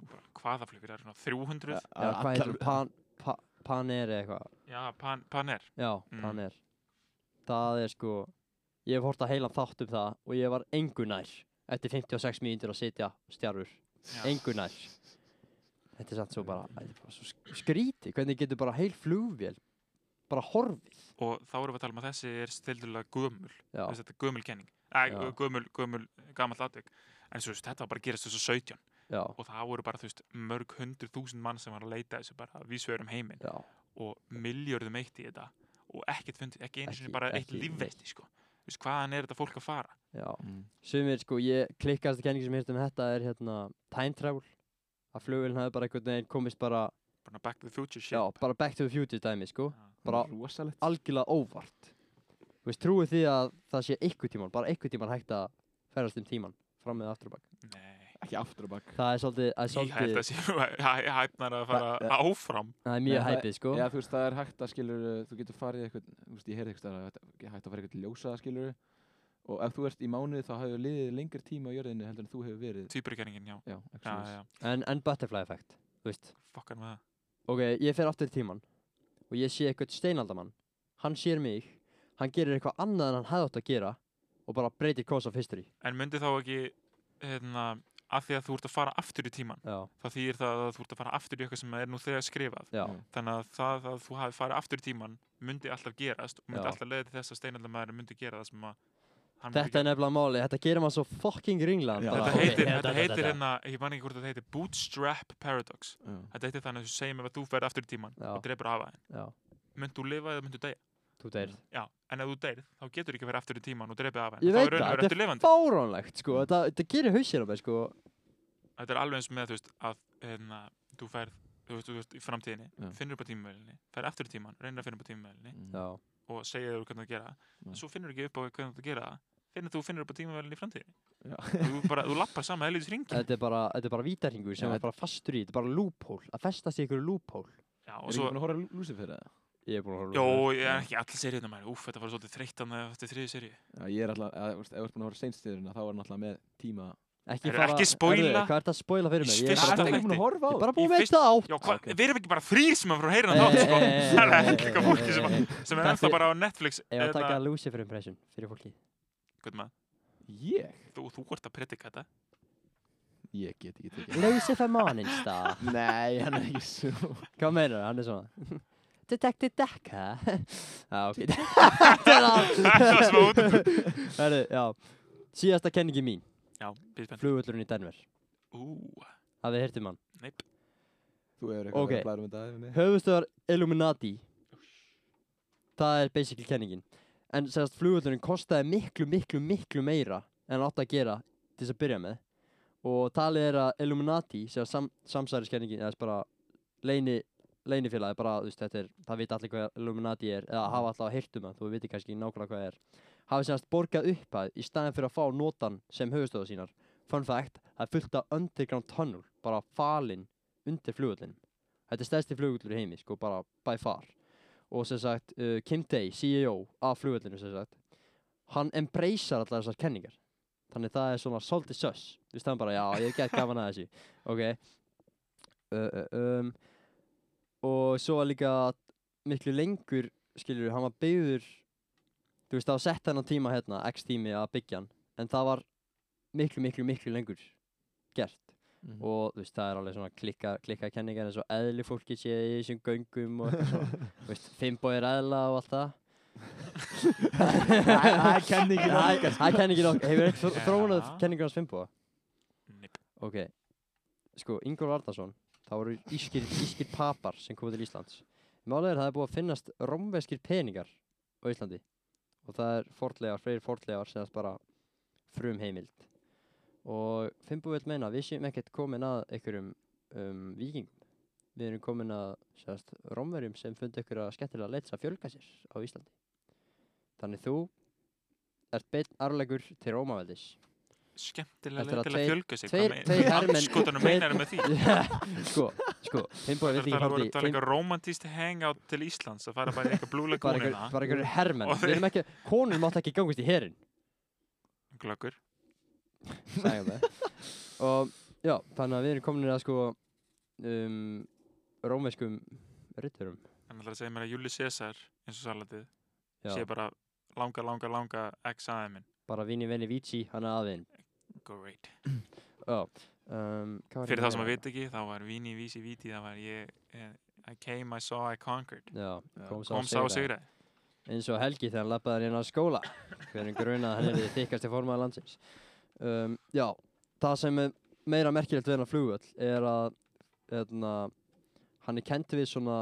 bara hvaða flugur, það er svona 300 já, hvað heitir hún? pan, pa, Paner eða eitthvað já, pan, Paner já, Mm. Paner það er sko ég hef hort að heila þátt um það og ég var engu nær eftir 56 mínútur að sitja stjarfur, Já. engu nær þetta er satt svo bara, þetta er bara svo sk- skrítið, hvernig getur bara heil flugvél bara horfið og þá erum við að tala um að þessi er stildulega gömul já, Þessi, þetta er gömul kenning Æ, Já. gömul, gömul, gamall atvik en svo, þú veist, þetta var bara að gerast þessu 17 já, og það voru bara þú veist, mörg hundru þúsund mann sem var að leita þessu bara vísverum heiminn já, og miljörðum eitt í þetta og ekkert fundið, ekki einu Ekki- sinni bara eitt ekki lífveisti sko. Þú veist, hvaðan er þetta fólk að fara já Mm. sumir sko, ég klikkast kenning sem hérst um þetta er hérna time travel að flugvélin hafi bara einhvern veginn komist bara bara back to the future shit Ah, já, bara back to the future dæmi sko Já. bara rosalegt algjörlega óvart Þú veist, trúið því að það sé einhver tíman bara einhver tíman hægt að ferast um tíman fram með aftur og bak Nei, ekki aftur og bak það er svolítið, það er, ég held svolítið, að sé nú hæ- hæpnar að fara Það- áfram það er mjög Nei, það- hæpið sko Já, þú veist, það er hægt að skilur, þú getur farið eitthvað, þú veist, ég heyrði eitthvað að það er hægt að fara eitthvað ljósa skilur og ef þú ert í mánuði þá hafið liðið lengri tíma á jörðinni heldur en þú hefur verið. Týpurkenningin, já, Já, ekki já, svoleiðis. já, en, en butterfly effect, þú veist fokkar með það ok, ég fer aftur í tíman og ég sé eitthvað steinaldamann hann sér mig, hann gerir eitthvað annað en hann hefði átt að gera og bara breytir course of history En myndi þá ekki, hérna, að því að þú ert að fara aftur í tíman já, þá þýðir það að þú ert að fara aftur í eitthvað sem er nú þegar skrifað já, Já. þannig að það að þú hafi farið aftur í tíman myndi alltaf gerast og myndi Já. alltaf leiða til þess að steinaldamæður myndi gera það sem að hann myndi þetta er nefnilega máli þetta gerir maður svo fucking ringlan Já. gera. bara- þetta heitir, ok, þetta heitir hérna, ég man ekki hvort þetta heitir Bootstrap Paradox Já. Mm. þetta heitir þannig að þú segir mér að þú ferð aftur í tíman Já. og drefur af aðeins já, mynd þú lifa eða mynd þú deyja þú deyrð Já, en ef þú deyrð, þá getur ekki verið aftur í tíman og drefið af henn. Ég Þá veit er raun og það, veru þetta eftir lifandi. fáránlegt sko, Mm. þetta, þetta gerir hausir á mig sko Þetta er alveg eins með, þú veist, að hérna, þú færð, þú veist, þú veist, í framtíðinni, Já. finnur upp á tímavælinni, færð aftur í tíman, reynir að finna upp á tímavælinni Mm. Já, og segja þér hvernig þú gera það. Já. En svo finnur ekki upp á hvernig þú gera það. Finnur þú finnur upp á tímavælinni í framtíðinni. Já. þú bara, þú lappar sama helvítis ringi. þetta er bara, þetta er bara vítarhingur sem Já, er bara fastur í, þetta er bara loophole, að festast í ykkur loophole. Já, Er og ekki svo, búin að horfa Lucifer eða? Ég er búin að horfa jó, á það. ég er ekki allir seríunum mæri. Úf, þetta var svolítið þreytan eftir þriði seríu. Já, ég er alltaf, eða, þú veist, ef þú ert búin að horfa seinstiðurinn þá er hann alltaf með tíma. Ekki Herru, ekki spoila. Herru, Hvað er það að spoila fyrir mig? Ég er bara, Fyrsta ertu þætti. ekki búin að horfa á? ég er bara Í búin með fyrsta- þetta átt. Já, hva, ok. við erum ekki bara þrýr sem er frá að heyra Nei, hann þátt, sko. nei, nei, Það er nei, ekki eitthvað nei, fólki sem, nei, nei. sem Eh, er Takk ennþá fyrir- bara á Netflix. Ef eh, hérna. að eða- taka Lucifer impression fyrir fólki. Guðma, Ég? þú, þú ert að predika þetta Ég get ekki tekið. Lucifer Morningstar. Nei, hann er ekki svo. Hvað meinar hann? Hann er svona. Detective Deck, hæ? Já, ok. Þetta er Það er smá út Herru, já. Síðasta kenningi mín. Já, býðspenn Flugvöllurinn í Denver. Ú, Hafið þið hirt um hann? neip Þú hefur Ok. eitthvað að blæra um þetta hefur mig. höfustöðar Illuminati það er basically kenningin en sérst flugvöldurinn kostaði miklu, miklu, miklu meira en átt að gera til þess að byrja með og talið er að Illuminati sérst sam, samsæriskenningin eða sem bara leini leinifélagi, bara, þú veist, þetta er, það vita allir hvað Illuminati er, eða hafa alltaf heyrt um það, þú viti kannski nákvæmlega hvað það er hafi sérst borgað upphæð í staðin fyrir að fá notan sem höfustöðu sínar fun fact, það er fullt af underground tunnel bara falinn undir flugullin Þetta er stærsti flugullur í heimi, sko, bara by far. Og sem sagt, uh, Kim Day, CEO af flugullinu, sem sagt, hann embracear allar þessar kenningar. Þannig það er svona svolítið sös. Þú veist, hann bara, já, ég get gaman að þessu. Ok. Uh, uh, um, og svo var líka miklu lengur, skilur, hann var byggður, þú veist, það var sett hennan tíma hérna, x tími að byggja hann, en það var miklu, miklu, miklu lengur gert Mhm. og þú veist, það er alveg svona klikka, klikka kenningar eins og eðli fólki sé í þessum göngum og eitthvað svona, þú veist, fimmbóir eðla og allt það Það er kenningin Það er- Það er kenningin okkar, hefur eitt Já. þrónað kenningar hans fimmbóa? Neip Ok, sko, Ingvar Vardarsson, það voru ískir, ískir papar sem komu til Íslands. Málega er að það er búið að finnast rómveskir peningar á Íslandi og það er fortlegar, fleiri fortlegar sem það bara frum heimild. Og Fimbo vil meina að við séum ekkert komin að einhverjum um, vikingum. Við erum komin að sérst, rómverjum sem fundi ykkur að skemmtilega leita að fjölga sér á Íslandi. Þannig þú ert beitt arlegur til Rómaveldis. Skemmtilega Þetta er leið að til að tveir- fjölga sig tveir- tveir hermenn- Skotunum tveir- meinar með því sko, sko, Fimbo Það vil er ekki haldi eitthvað eitthvað romantíst hangout til Íslands að fara bara í eitthvað blúlega bara einhver, kúnina bara einhver hermenn Og við erum ekki, konur mátt ekki gangast í herin Glöggur sagði hann það og já, þannig að við erum komin að sko um, rómverskum ritturum. En alltaf að segja mér að Júli César, eins og salatið, Já, sé bara langa, langa, langa x aðeiminn. bara vini vini vici, hann er aðvinn. Great. Já. Um, hvað var ég Fyrir þá meira? sem að veit ekki, þá var Vini, Vísi, Víti, það var ég, eh, I came, I saw, I conquered. Já, Já, kom sá Kom sá sigraði. og sigraði. eins og Helgi þegar hann lappaði hann inn á skóla fyrir en gruna að hann er því þykast í formaða landsins um, Já, það sem er meira merkilegt við hennar flugvöll er að eðna, hann er kent við svona,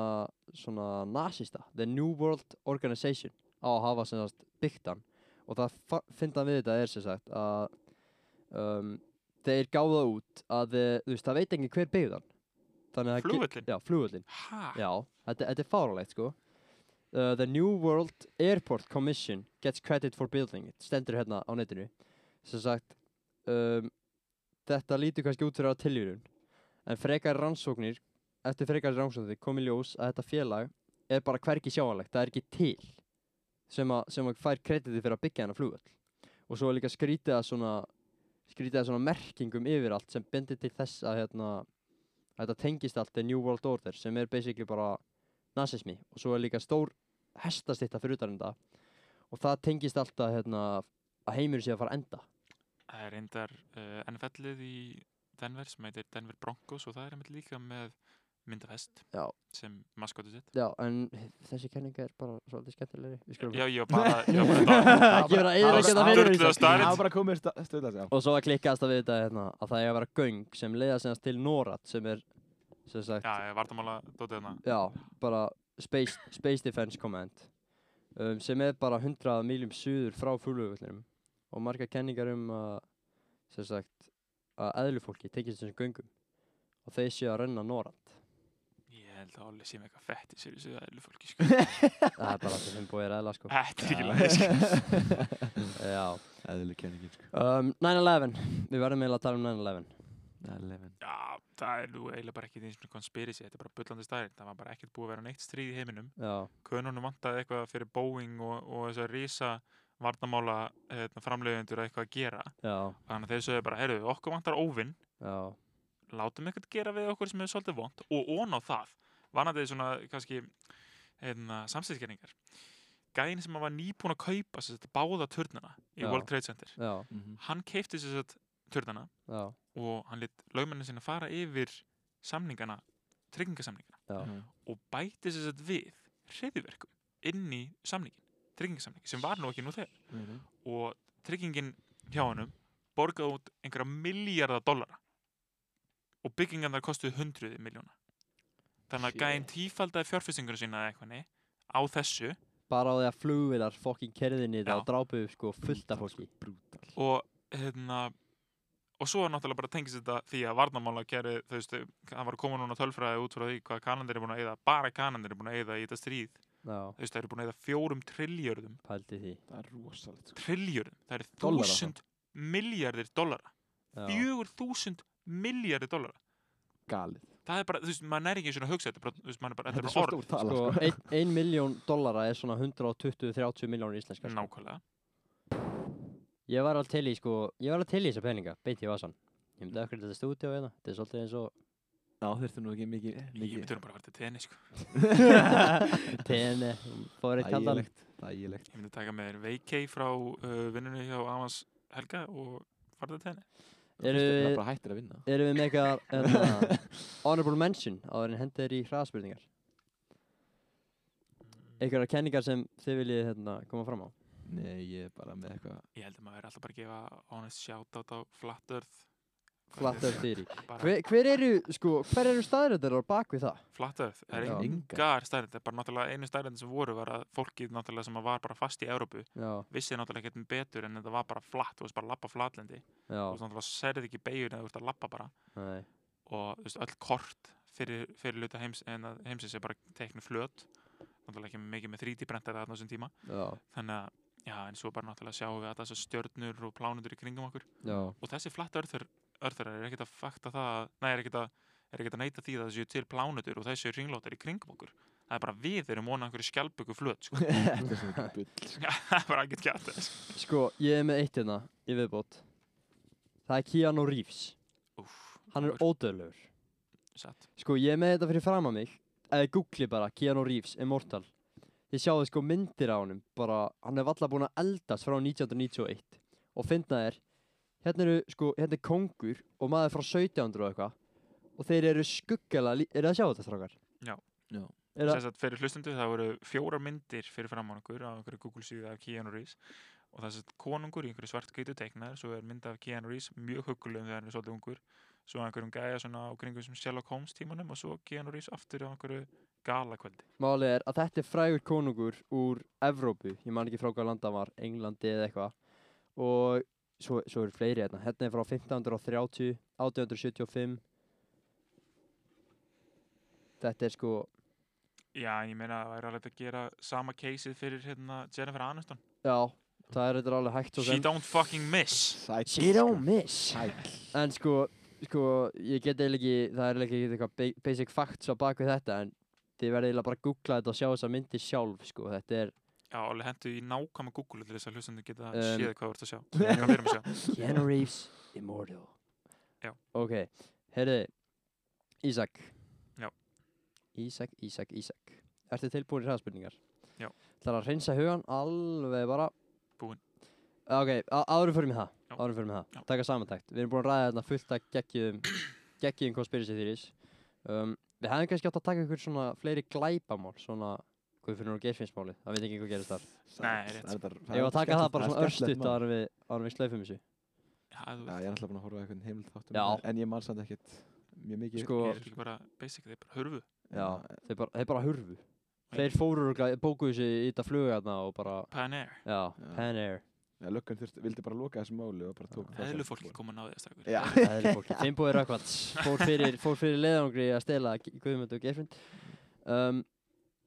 svona nasista The New World Organization á að hafa sem sagt byggt hann og það fa- fyndan við þetta er sem sagt að um, þeir gáða út að eh, þú veist, það veit enginn hver byggði hann Þannig að það ge- Flugvöllin? Já, flugvöllin Ha? Já, þetta, þetta er fáralegt sko. Uh, the New World Airport Commission gets credit for building it. Stendur hérna á netinu. Sem sagt, um, þetta lítur kannski út fyrir að tiljurun. En frekar rannsóknir, eftir frekar rannsóknir kom í ljós að þetta félag er bara hvergi sjáanlegt. Það er ekki til sem að, sem að fær kreditið fyrir að byggja hennar flugvöll. Og svo er líka skrítið að svona skrítið að svona merkingum yfir allt sem bendir til þess að hérna, þetta tengist allt til New World Order sem er basically bara nazismi og svo er líka stór hestastýtta fyrir utan þetta og það tengist allt að, hérna, að heimur sé að fara að enda Það er reyndar uh, NFL-ið í Denver sem heitir Denver Broncos og það er einmitt líka með myndavest Já. sem maskotu sitt. Já, en þessi kenning er bara svolítið skemmtilegri Við skulum- Já, ég var bara, ég var bara dál. Ekki vera að eyðileggja það fyrir störtluða Ísak. staðreynd. Það var bara komið stöðla sig á. Og svo að klikkaðast að við þetta hérna, að það er að vera göng sem leiða sem sagt til Norad sem er sem sagt, Já, ég vartamála dótið hérna. Já, bara Space, Space Defense Command um, sem er bara 100 miljum suður frá flugvöldinum og marga kenningar um að sem sagt að eðlufólki tekist þessum göngum og þeir séu að renna norrand Ég held að Olli sé með eitthvað fett í sér þessu eðlu fólki, sko. það er bara það sem búið er eðla sko Þetta er ekki lægis. Já Æðileg kenningin sko. um, 9-11, við verðum eiginlega að tala um 9-11 Já, það er nú eiginlega bara ekki eins og konspirisi, þetta er bara bullandi staðrind. Það var bara ekkert búið að vera neitt stríð í heiminum. Já, Könunum vantaði eitthvað fyrir Boeing og, og þess að rísa vartamála hérna, framleiðendur eitthvað að gera. já, Þannig að þeir sögðu bara, heyrðu, okkur vantar óvinn, já látum eitthvað gera við okkur sem er svolítið vond og ón á það vanandi svona kannski hérna, samstæðiskenningar gæðin sem var nýbúin að kaupa sér, báða turnana í Já. World Trade Center Já, hann keipti sér satt turnana já, og hann lit lögmennin sinna fara yfir samningana, tryggingasamningana já, og bæti sér satt við hreðiverkum inn í samningin tryggingasamningin sem var nú ekki nú þegar og tryggingin hjá hannum borgaði út einhverja miljardar dollara og byggingarnar kostuði hundruði miljóna þannig að Shit. gæðin tífaldaði fjárfestingur sína eða eitthvað á þessu bara á því að flugvilar fokkin kerðinni Já. það og drápuðu sko fullt af fólki Brútal. og hérna og svo er náttúrulega bara tengist þetta því að varnamála gerði, þú veist, það var að koma núna tölfræði út frá því hvað kanandir er búin að eyða bara kanandir er búin að eyða í þetta stríð Já, þú veist, það eru búin að eyða fjórum trilljörðum pældi því Það er rosalegt sko. trilljörðum, það eru Dollara, þúsund miljardir dollara, Já, fjögur þúsund miljardir dollara Galið. það er bara, þú veist, maður næri ekki einu sinni að hugsa þetta, er bara, þú veist, maður er bara, þetta er bara svart orð, úr tala sko, sko. ein, ein miljón dollara er svona 120-30 miljónir íslenska sko. nákvæmlega. Ég var alveg til í sko, ég var alveg til í þessa peninga, beint í vasan Ég myndi okkur þetta stúdíu hérna, þetta er svolítið eins Já, þurftu nú ekki mikið. Ég myndi nú bara að vera til tenni, sko. og TN, um, fór eitt kaldan Ægilegt. Ægilegt. Ég myndi taka með þér veikei frá uh, vinnunni hjá Amans Helga og fara til tenni. Eru- Það er bara hættir að vinna. Erum við með eitthvað hérna, honorable mention á þeirinn hendir í hraðspurningar Einhverjar kenningar sem þið viljið hérna, koma fram á Nei, ég er bara með eitthvað. Ég held að maður er alltaf bara að gefa honest shoutout á Flat Earth. Flat Earth Theory Bara- hver, hver eru, sko, hver eru staðröndar á bak við það? Flat Earth, það Já. er engar stærðin, bara náttúrulega einu stærðin sem voru var að fólkið náttúrulega sem var bara fast í Európu Já, vissi náttúrulega ekkert um betur en þetta var bara flatt, þú veist bara lappa flatlendi, já, þú veist náttúrulega serðið ekki beigur en þú ert að lappa bara nei, og þú veist, öll kort fyrir, fyrir luta heims, en að heimsins er bara teknu flöt náttúrulega ekki mikið með 3D brentara þarna á þessum tíma já, þannig að, já, en svo bara náttúrulega sjáum við að þessar stjörnur og plánundur í kringum okkur já, og þessi flatta örþur, örþurar er ekkert að fakta það, að- nei, er ekkert að er ekkert að neita því að það séu til plánutur og þessi ringlótar í kringum okkur það er bara við erum vonað einhverju skjálpöku flöt sko. Þetta er svona bull. sko. það er bara ekkert kjátt þess Sko, ég er með eitt hérna í viðbót. Það er Keanu Reeves. Úff, Hann er maður, ódöðlegur. satt. Sko, ég er með þetta fyrir fram að mig eða googli bara Keanu Reeves Immortal þið sjáðu sko myndir á honum bara, hann er valla búin að eldast frá 1991 og finna þér hérna eru sko, hérna er kongur og maður frá 1700 og eitthvað og þeir eru skuggala, eru að sjá þetta strákar? Já. Já. Er það, Sess að fyrir hlustundu það voru fjóra myndir fyrir fram á okkur á einhverju Google síðu af Keanu Reeves og það er sett konungur í einhverju svart geitu teiknar svo er mynd af Keanu Reeves mjög huggulegum þegar hann er svolítið ungur svo einhverjum gæja svona á kringum sem Sherlock Holmes tímanum og svo Keanu Reeves aftur á einhverju galakvöldi málið er að þetta er frægur konungur úr Evrópu, ég man ekki frá hvað landa var, Englandi eða eitthvað og svo, svo eru fleiri hérna, hérna er frá 1530, 1875 þetta er sko Já, en ég meina að það væri alveg að gera sama caseið fyrir hérna Jennifer Aniston Já, það er þetta er alveg hægt svo She sem don't fucking miss Sæll, She don't miss Sæll. En sko, sko, ég get eiginlega ekki, það er eiginlega ekki eitthvað ba- basic facts á baku þetta En þið verðið eiginlega bara að googla þetta og sjá þessa myndi sjálf sko Þetta er Já, alveg hentu í nákvæma Google til þess að hlustundu geta um, Um, séð hvað þú ert að sjá hvað við erum að sjá Keanu Reeves Immortal Já. Ok, heyrðu, Ísak Já. Ísak, Ísak, Ísak Ertu tilbúin í hraðspurningar? Já. Það er að reynsa hugan alveg bara Ah, Búinn. Ok, á- áður fyrir mig það Já. árum fyrir með það, Já. taka samantækt við erum búin að ræða þarna fullt að geggjum geggjum conspiracy theories um, við hefðum kannski átt að taka ykkur svona fleiri glæpamál, svona Guðfinnur og Geirfinnsmáli, það veit ekki hvað gerist þar Nei, rétt. Það er þar- ég var að taka það skemmtilegt- bara er svona skemmtilegt örstutt mál. árum við, árum við slöfum þessu Já, þú Já, veist, ég er alltaf búin að horfa á eitthvað heimil þáttum Já. En ég man samt ekkert mjög mikið Sko- er þetta ekki bara basic, þeir bara hörfu já, þeir bara, þeir bara hurfu þeir fóru og bókuðu sig í þetta fluga þarna og bara, Panair, já, Já. Pan Air Já, löggan þurfti, vildi bara loka þessu máli og bara tók það sem- eðlufólki koma að ná því að stakkur Já, Fimboi Rökkvalls fór fyrir, fór fyrir leðangri að stela Guðmund og Geirfind um,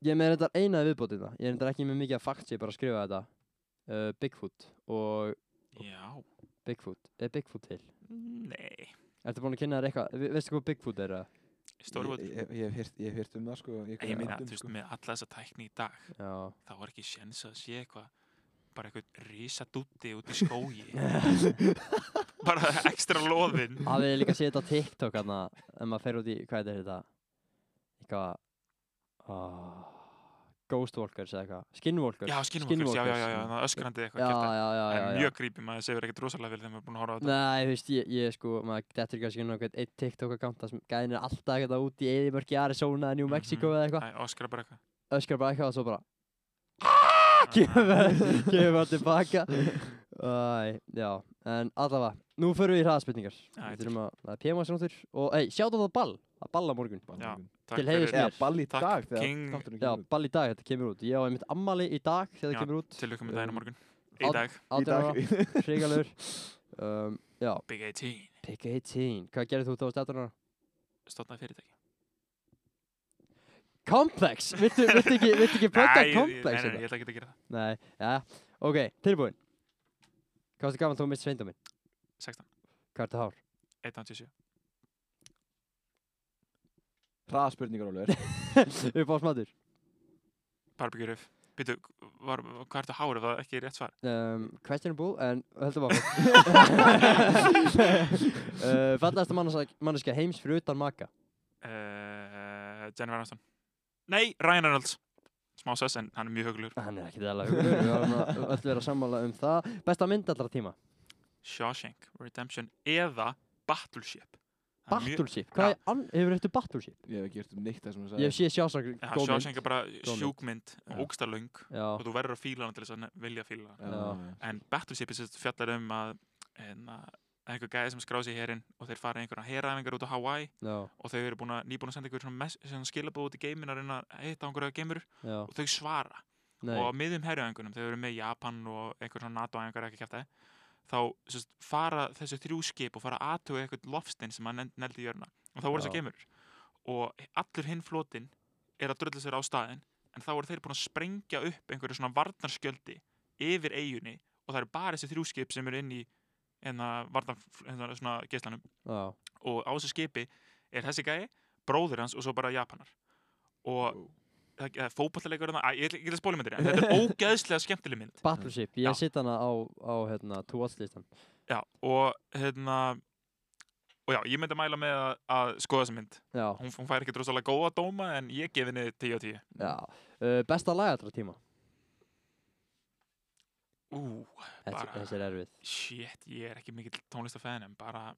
Ég er með reyndar eina viðbótina Ég er reyndar ekki með mikið að fakt ég er bara að skrifa þetta uh, Bigfoot og Já, Bigfoot, er Bigfoot til? nei, Ertu búin að kynna þér eitthvað? Ve- Veistu hvað Bigfoot er? eða? stórvöld Ég- ég- Ég hef heyrt- ég hef heyrt um það sko Ég meina, um, þú veist, með alla þessa tækni í dag Já, þá var ekki sjens að sé eitthvað bara eitthvað risadútti út í skógi bara ekstra loðin hafið þið líka séð þetta á TikTok hana en maður fer út í, hvað er þetta? Eitthvað oh, Ghostwalkers eða eitthvað Skinwalkers Já, skinnvokkur, já, já, já, já, já, það öskrandi eitthvað já, kjaftaði. já, já, já, Það er já. mjög creepy, maður segir ekkert rosalega vel þegar maður er búin að horfa á þetta Nei, þú veist, ég, ég sko, maður dettur kannski inn á einhvern eitt TikTok-account þar sem gæðin er alltaf eitthvað út í Eðimörki, Arizona, New Mexico Mhm. eða eitthvað Æ, öskra bara eitthvað öskar bara eitthvað og svo bara Ah, kemur kemur bara tilbaka Æ, já, en allavega nú förum við í hraðspurningar Já, Við ég þurfum að, það er PMS náttur og, ei, sjáttu það ball að balla morgun Já. Til fyrir- heiðurs Eða mér. ball í Takk, dag þegar King. þátturinn Já, kemur út. ball í dag, þetta kemur út Ég á einmitt ammali í dag þegar Já, þetta kemur út Til lukkum með daginn á Um, morgun Í át- dag, Í 18 ára, dag hrigalur um, Já, Big 18 pick 18 Hvað gerir þú þá stættur hana? Stofnaði fyrirtæki Complex, viltu, viltu ekki, viltu ekki plugga Nei, ég- ég- Complex? Nei, nei, hérna? ég ætla ekki að gera það Nei, já, ok, tilbúin Hvað varstu gaman þú mist sveindaminn? 16, Hvað ertu hár? 1.7 Hraða spurningar Ólfur Upp á smadur Barbecue Riff Býtu, var, hvað ertu hárið? Það er ekki rétt svar um, Questionable, en höldum áfram uh, Fallasta manneska heims fyrir utan maka uh, Jennifer Aniston Nei, Ryan Reynolds Smá sess, en hann er mjög högulur Hann er ekki þærlega hugur Við varum að öll vera sammála um það Besta mynd allra tíma Shawshank Redemption eða Battleship Það er mjög- Battleship, hvað er, ann- hefur þetta Battleship? Ég hef ekki hert um neitt það sem þú Ég hef sagði séð sjásang Já, Shawshank er bara mynd. sjúkmynd Já. og ógstalöng Já, og þú verður að fíla hann til þess að ne- vilja fíla hann en Battleship er sérst fjallar um að hérna, það er einhver gæði sem skráði sig í herin og þeir fara í einhverja heræfingar út á Hawaii já, og þau eru búin að nýbúin að senda einhver svona, mess- svona skilabóð út í geimin að reyna að hitta einhverja geimur já, og þau svara nei og á miðum herræfingunum, þau eru með Japan og einhver svona NATO-æfingar ekki kæftið þá sérst, fara þessu þrjú skip og fara að aðtuga eitthvað lofstinn sem að neldi í jörna og þá voru Já. þessar geimur og allur hinn flotin er að drölla sér á staðinn en þá voru þeir búin að sprengja upp einhverju svona varnarskjöldi yfir eigunni og það eru bara þessi þrjú skip sem eru inn í hérna varnar hérna, svona geislanum Já, og á þessu skipi er þessi gæi, bróðir hans og svo bara Japanar og það það er fótballalegur þarna, Æ, ég ætla ekki að spóla myndir en þetta er ógeðslega skemmtileg mynd Battleship, ég Já. sitt hana á, á hérna, to watch listan já, og hérna og já, ég myndi að mæla með að, að skoða þessa mynd. já, Hún, hún fær ekki drosalega góða dóma en ég gefi henni 10 og 10. já. Uh, besta lagadra tíma Ú, þessi, Bara- þessi er erfið shit, ég er ekki mikill tónlistafæðin en bara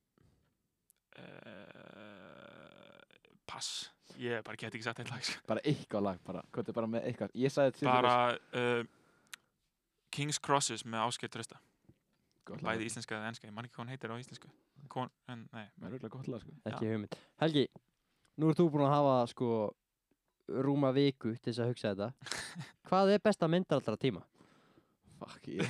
uh, pass. Ég bara get ekki sagt eitt lag. sko. bara eitthvað lag bara, hvað er bara með eitthvað ég sagði þetta Bara uh, King's Crosses með Ásgeir Trösta. Bæði íslenska eða enska, ég man ekki hvað hún heitir á íslensku. Kon, en, nei, með röglega gott lag sko. ekki hugmynd Helgi, nú ert þú búin að hafa sko rúma viku til þess að hugsa þetta hvað er besta mynd allra tíma? fuck ég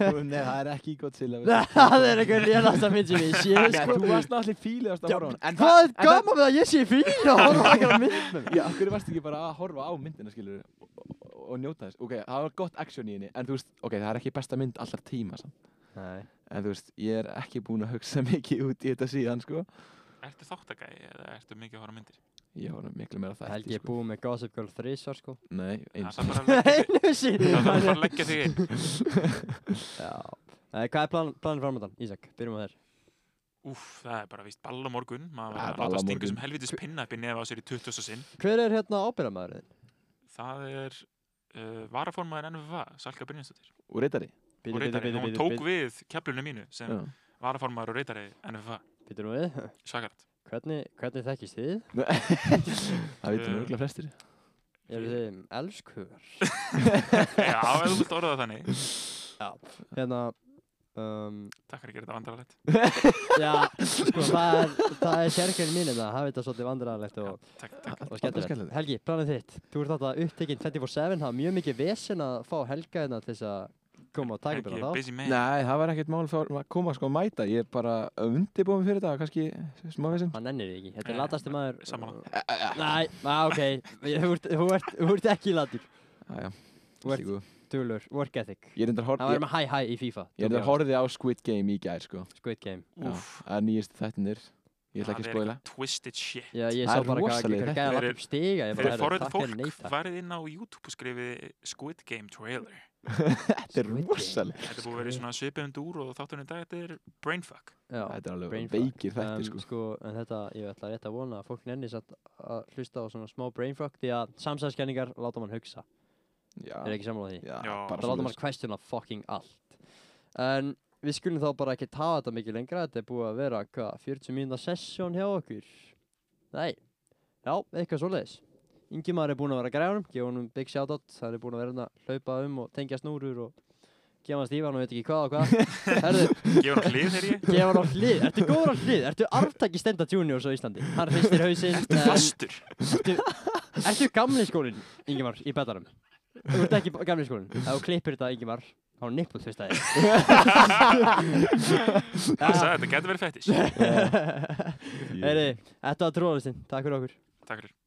það nei, það er ekki gott til að er eitthvað lélasta mynd sem ég sé Nei, sko þú varst náttúrulega fílið að Já, horfa á hann en hvað er það- gaman við að ég sé fyrir að horfa ekki á mynd með mér Já, okkur varst ekki bara að horfa á myndina, skilur og, og, og njóta þess, ok, það var gott action í henni en þú veist, ok, það er ekki besta mynd allar tíma samt. Nei. en þú veist, ég er ekki búin að hugsa mikið út í þetta síðan, sko ertu þáttagæði eða ertu mikið að horfa á myndir? ég var miklu meira það Helgi er sko. búið með Gossip Girl 3 svar sko Nei, Það eins þarf bara að leggja þig- einu sín það þarf bara að leggja þig inn. Já. Eh, Hvað er plan, planið framöndan, Ísak? Byrjum á þér. Úff, það er bara víst ball á morgun. Maður Það er var að ball á láta stingu morgun. sem helvitis pinna upp í nefa á sér í 20. sinn. Hver er hérna ábyrðamæðurinn? Það er uh, varaformaður NFV, Salka Brynjansdóttir. og reytari Og reytari, hún tók við keflunum mínu sem Já. varaformaður og reytari NFV. Býtur nú við. Svakarætt. Hvernig, hvernig þekkist þið? það veitum við Eh. örgulega flestir Eru þið um elskuðar? Já, ef þú vilt orða það þannig. Hérna, um, Takk fyrir að gera þetta vandrarlegt. já, sko, það er, það er sérkjörn mín hérna, hafið þetta svolítið vandræðarlegt og, Takk, takk. og Alltaf skemmtilegt. skemmtilegt. Helgi, planið þitt. Þú ert alltaf upptekinn 24-7, það er mjög mikið vesen að fá Helga hérna til þess að koma og taka Helgi byrja er þá. busy man. Nei, það var ekkert mál þá að koma sko að mæta ég er bara undirbúin fyrir þetta, kannski smá vissum Hann nennir því ekki. Þetta er Nei, latasti maður. sammála. Næ, á, ok, þú ert, þú ert, þú ert ekki latur. Þú ert ég dölur, work ethic. er reyndar Það var horf- með hæ-hæ í FIFA. ég er reyndar horfið á Squid Game í gær sko Squid Game. Já, Úff, það er nýjist þettinir ég ætla ekki að það er spoila eitthvað Twisted shit. Já, ég Það sá er bara hvað rosalegir gæði að Fyrir- þættir. lappa upp stiga. Ég bara, Fyrir herru, forrið takk er fólk, neita. farið inn á YouTube og skrifið Squid Game trailer. þetta er Squid Game. rosaleg Þetta er búið að Sko. vera í svona svipum dúr og þáttunum í dag, þetta er brainfuck. Já, þetta er alveg brainfuck. veikir þættir Em, sko sko, en þetta, ég ætla rétt að vona að fólk nenni satt að hlusta á svona smá brainfuck því að samsæðiskenningar láta mann hugsa. Já. Um, Er ekki sammála því? Já, Já. bara Það láta mann svoleiðis. questiona fucking allt. En við skulum þá bara ekki tafa þetta mikið lengra. Þetta er búið að vera, hvað, 40 mínúna sessjón hjá okkur? Nei. Já, eitthvað svoleiðis. Ingimar er búinn að vera að græða honum, gefa honum big shoutout, það er búinn að vera hérna að hlaupa um og tengja snúrur og gefa hann stífan og veit ekki hvað og hvað. Herðu, Gefur hann hlið þegar ég? gefa hann á hlið, ertu góður á hlið, ertu arftaki Stenda Juniors á Íslandi, hann hristir hausinn, Ertu en fastur? ertu gamli skólinn, Ingimar, í betanum? Þú ert ekki gamli skólinn, ef þú klippir þetta, Ingimar, þá er nippuð fyrst að Hann sagði þetta getur verið fettis. þér. Heyri, þetta var tróðalistinn, takk fyrir okkur. Takk fyrir.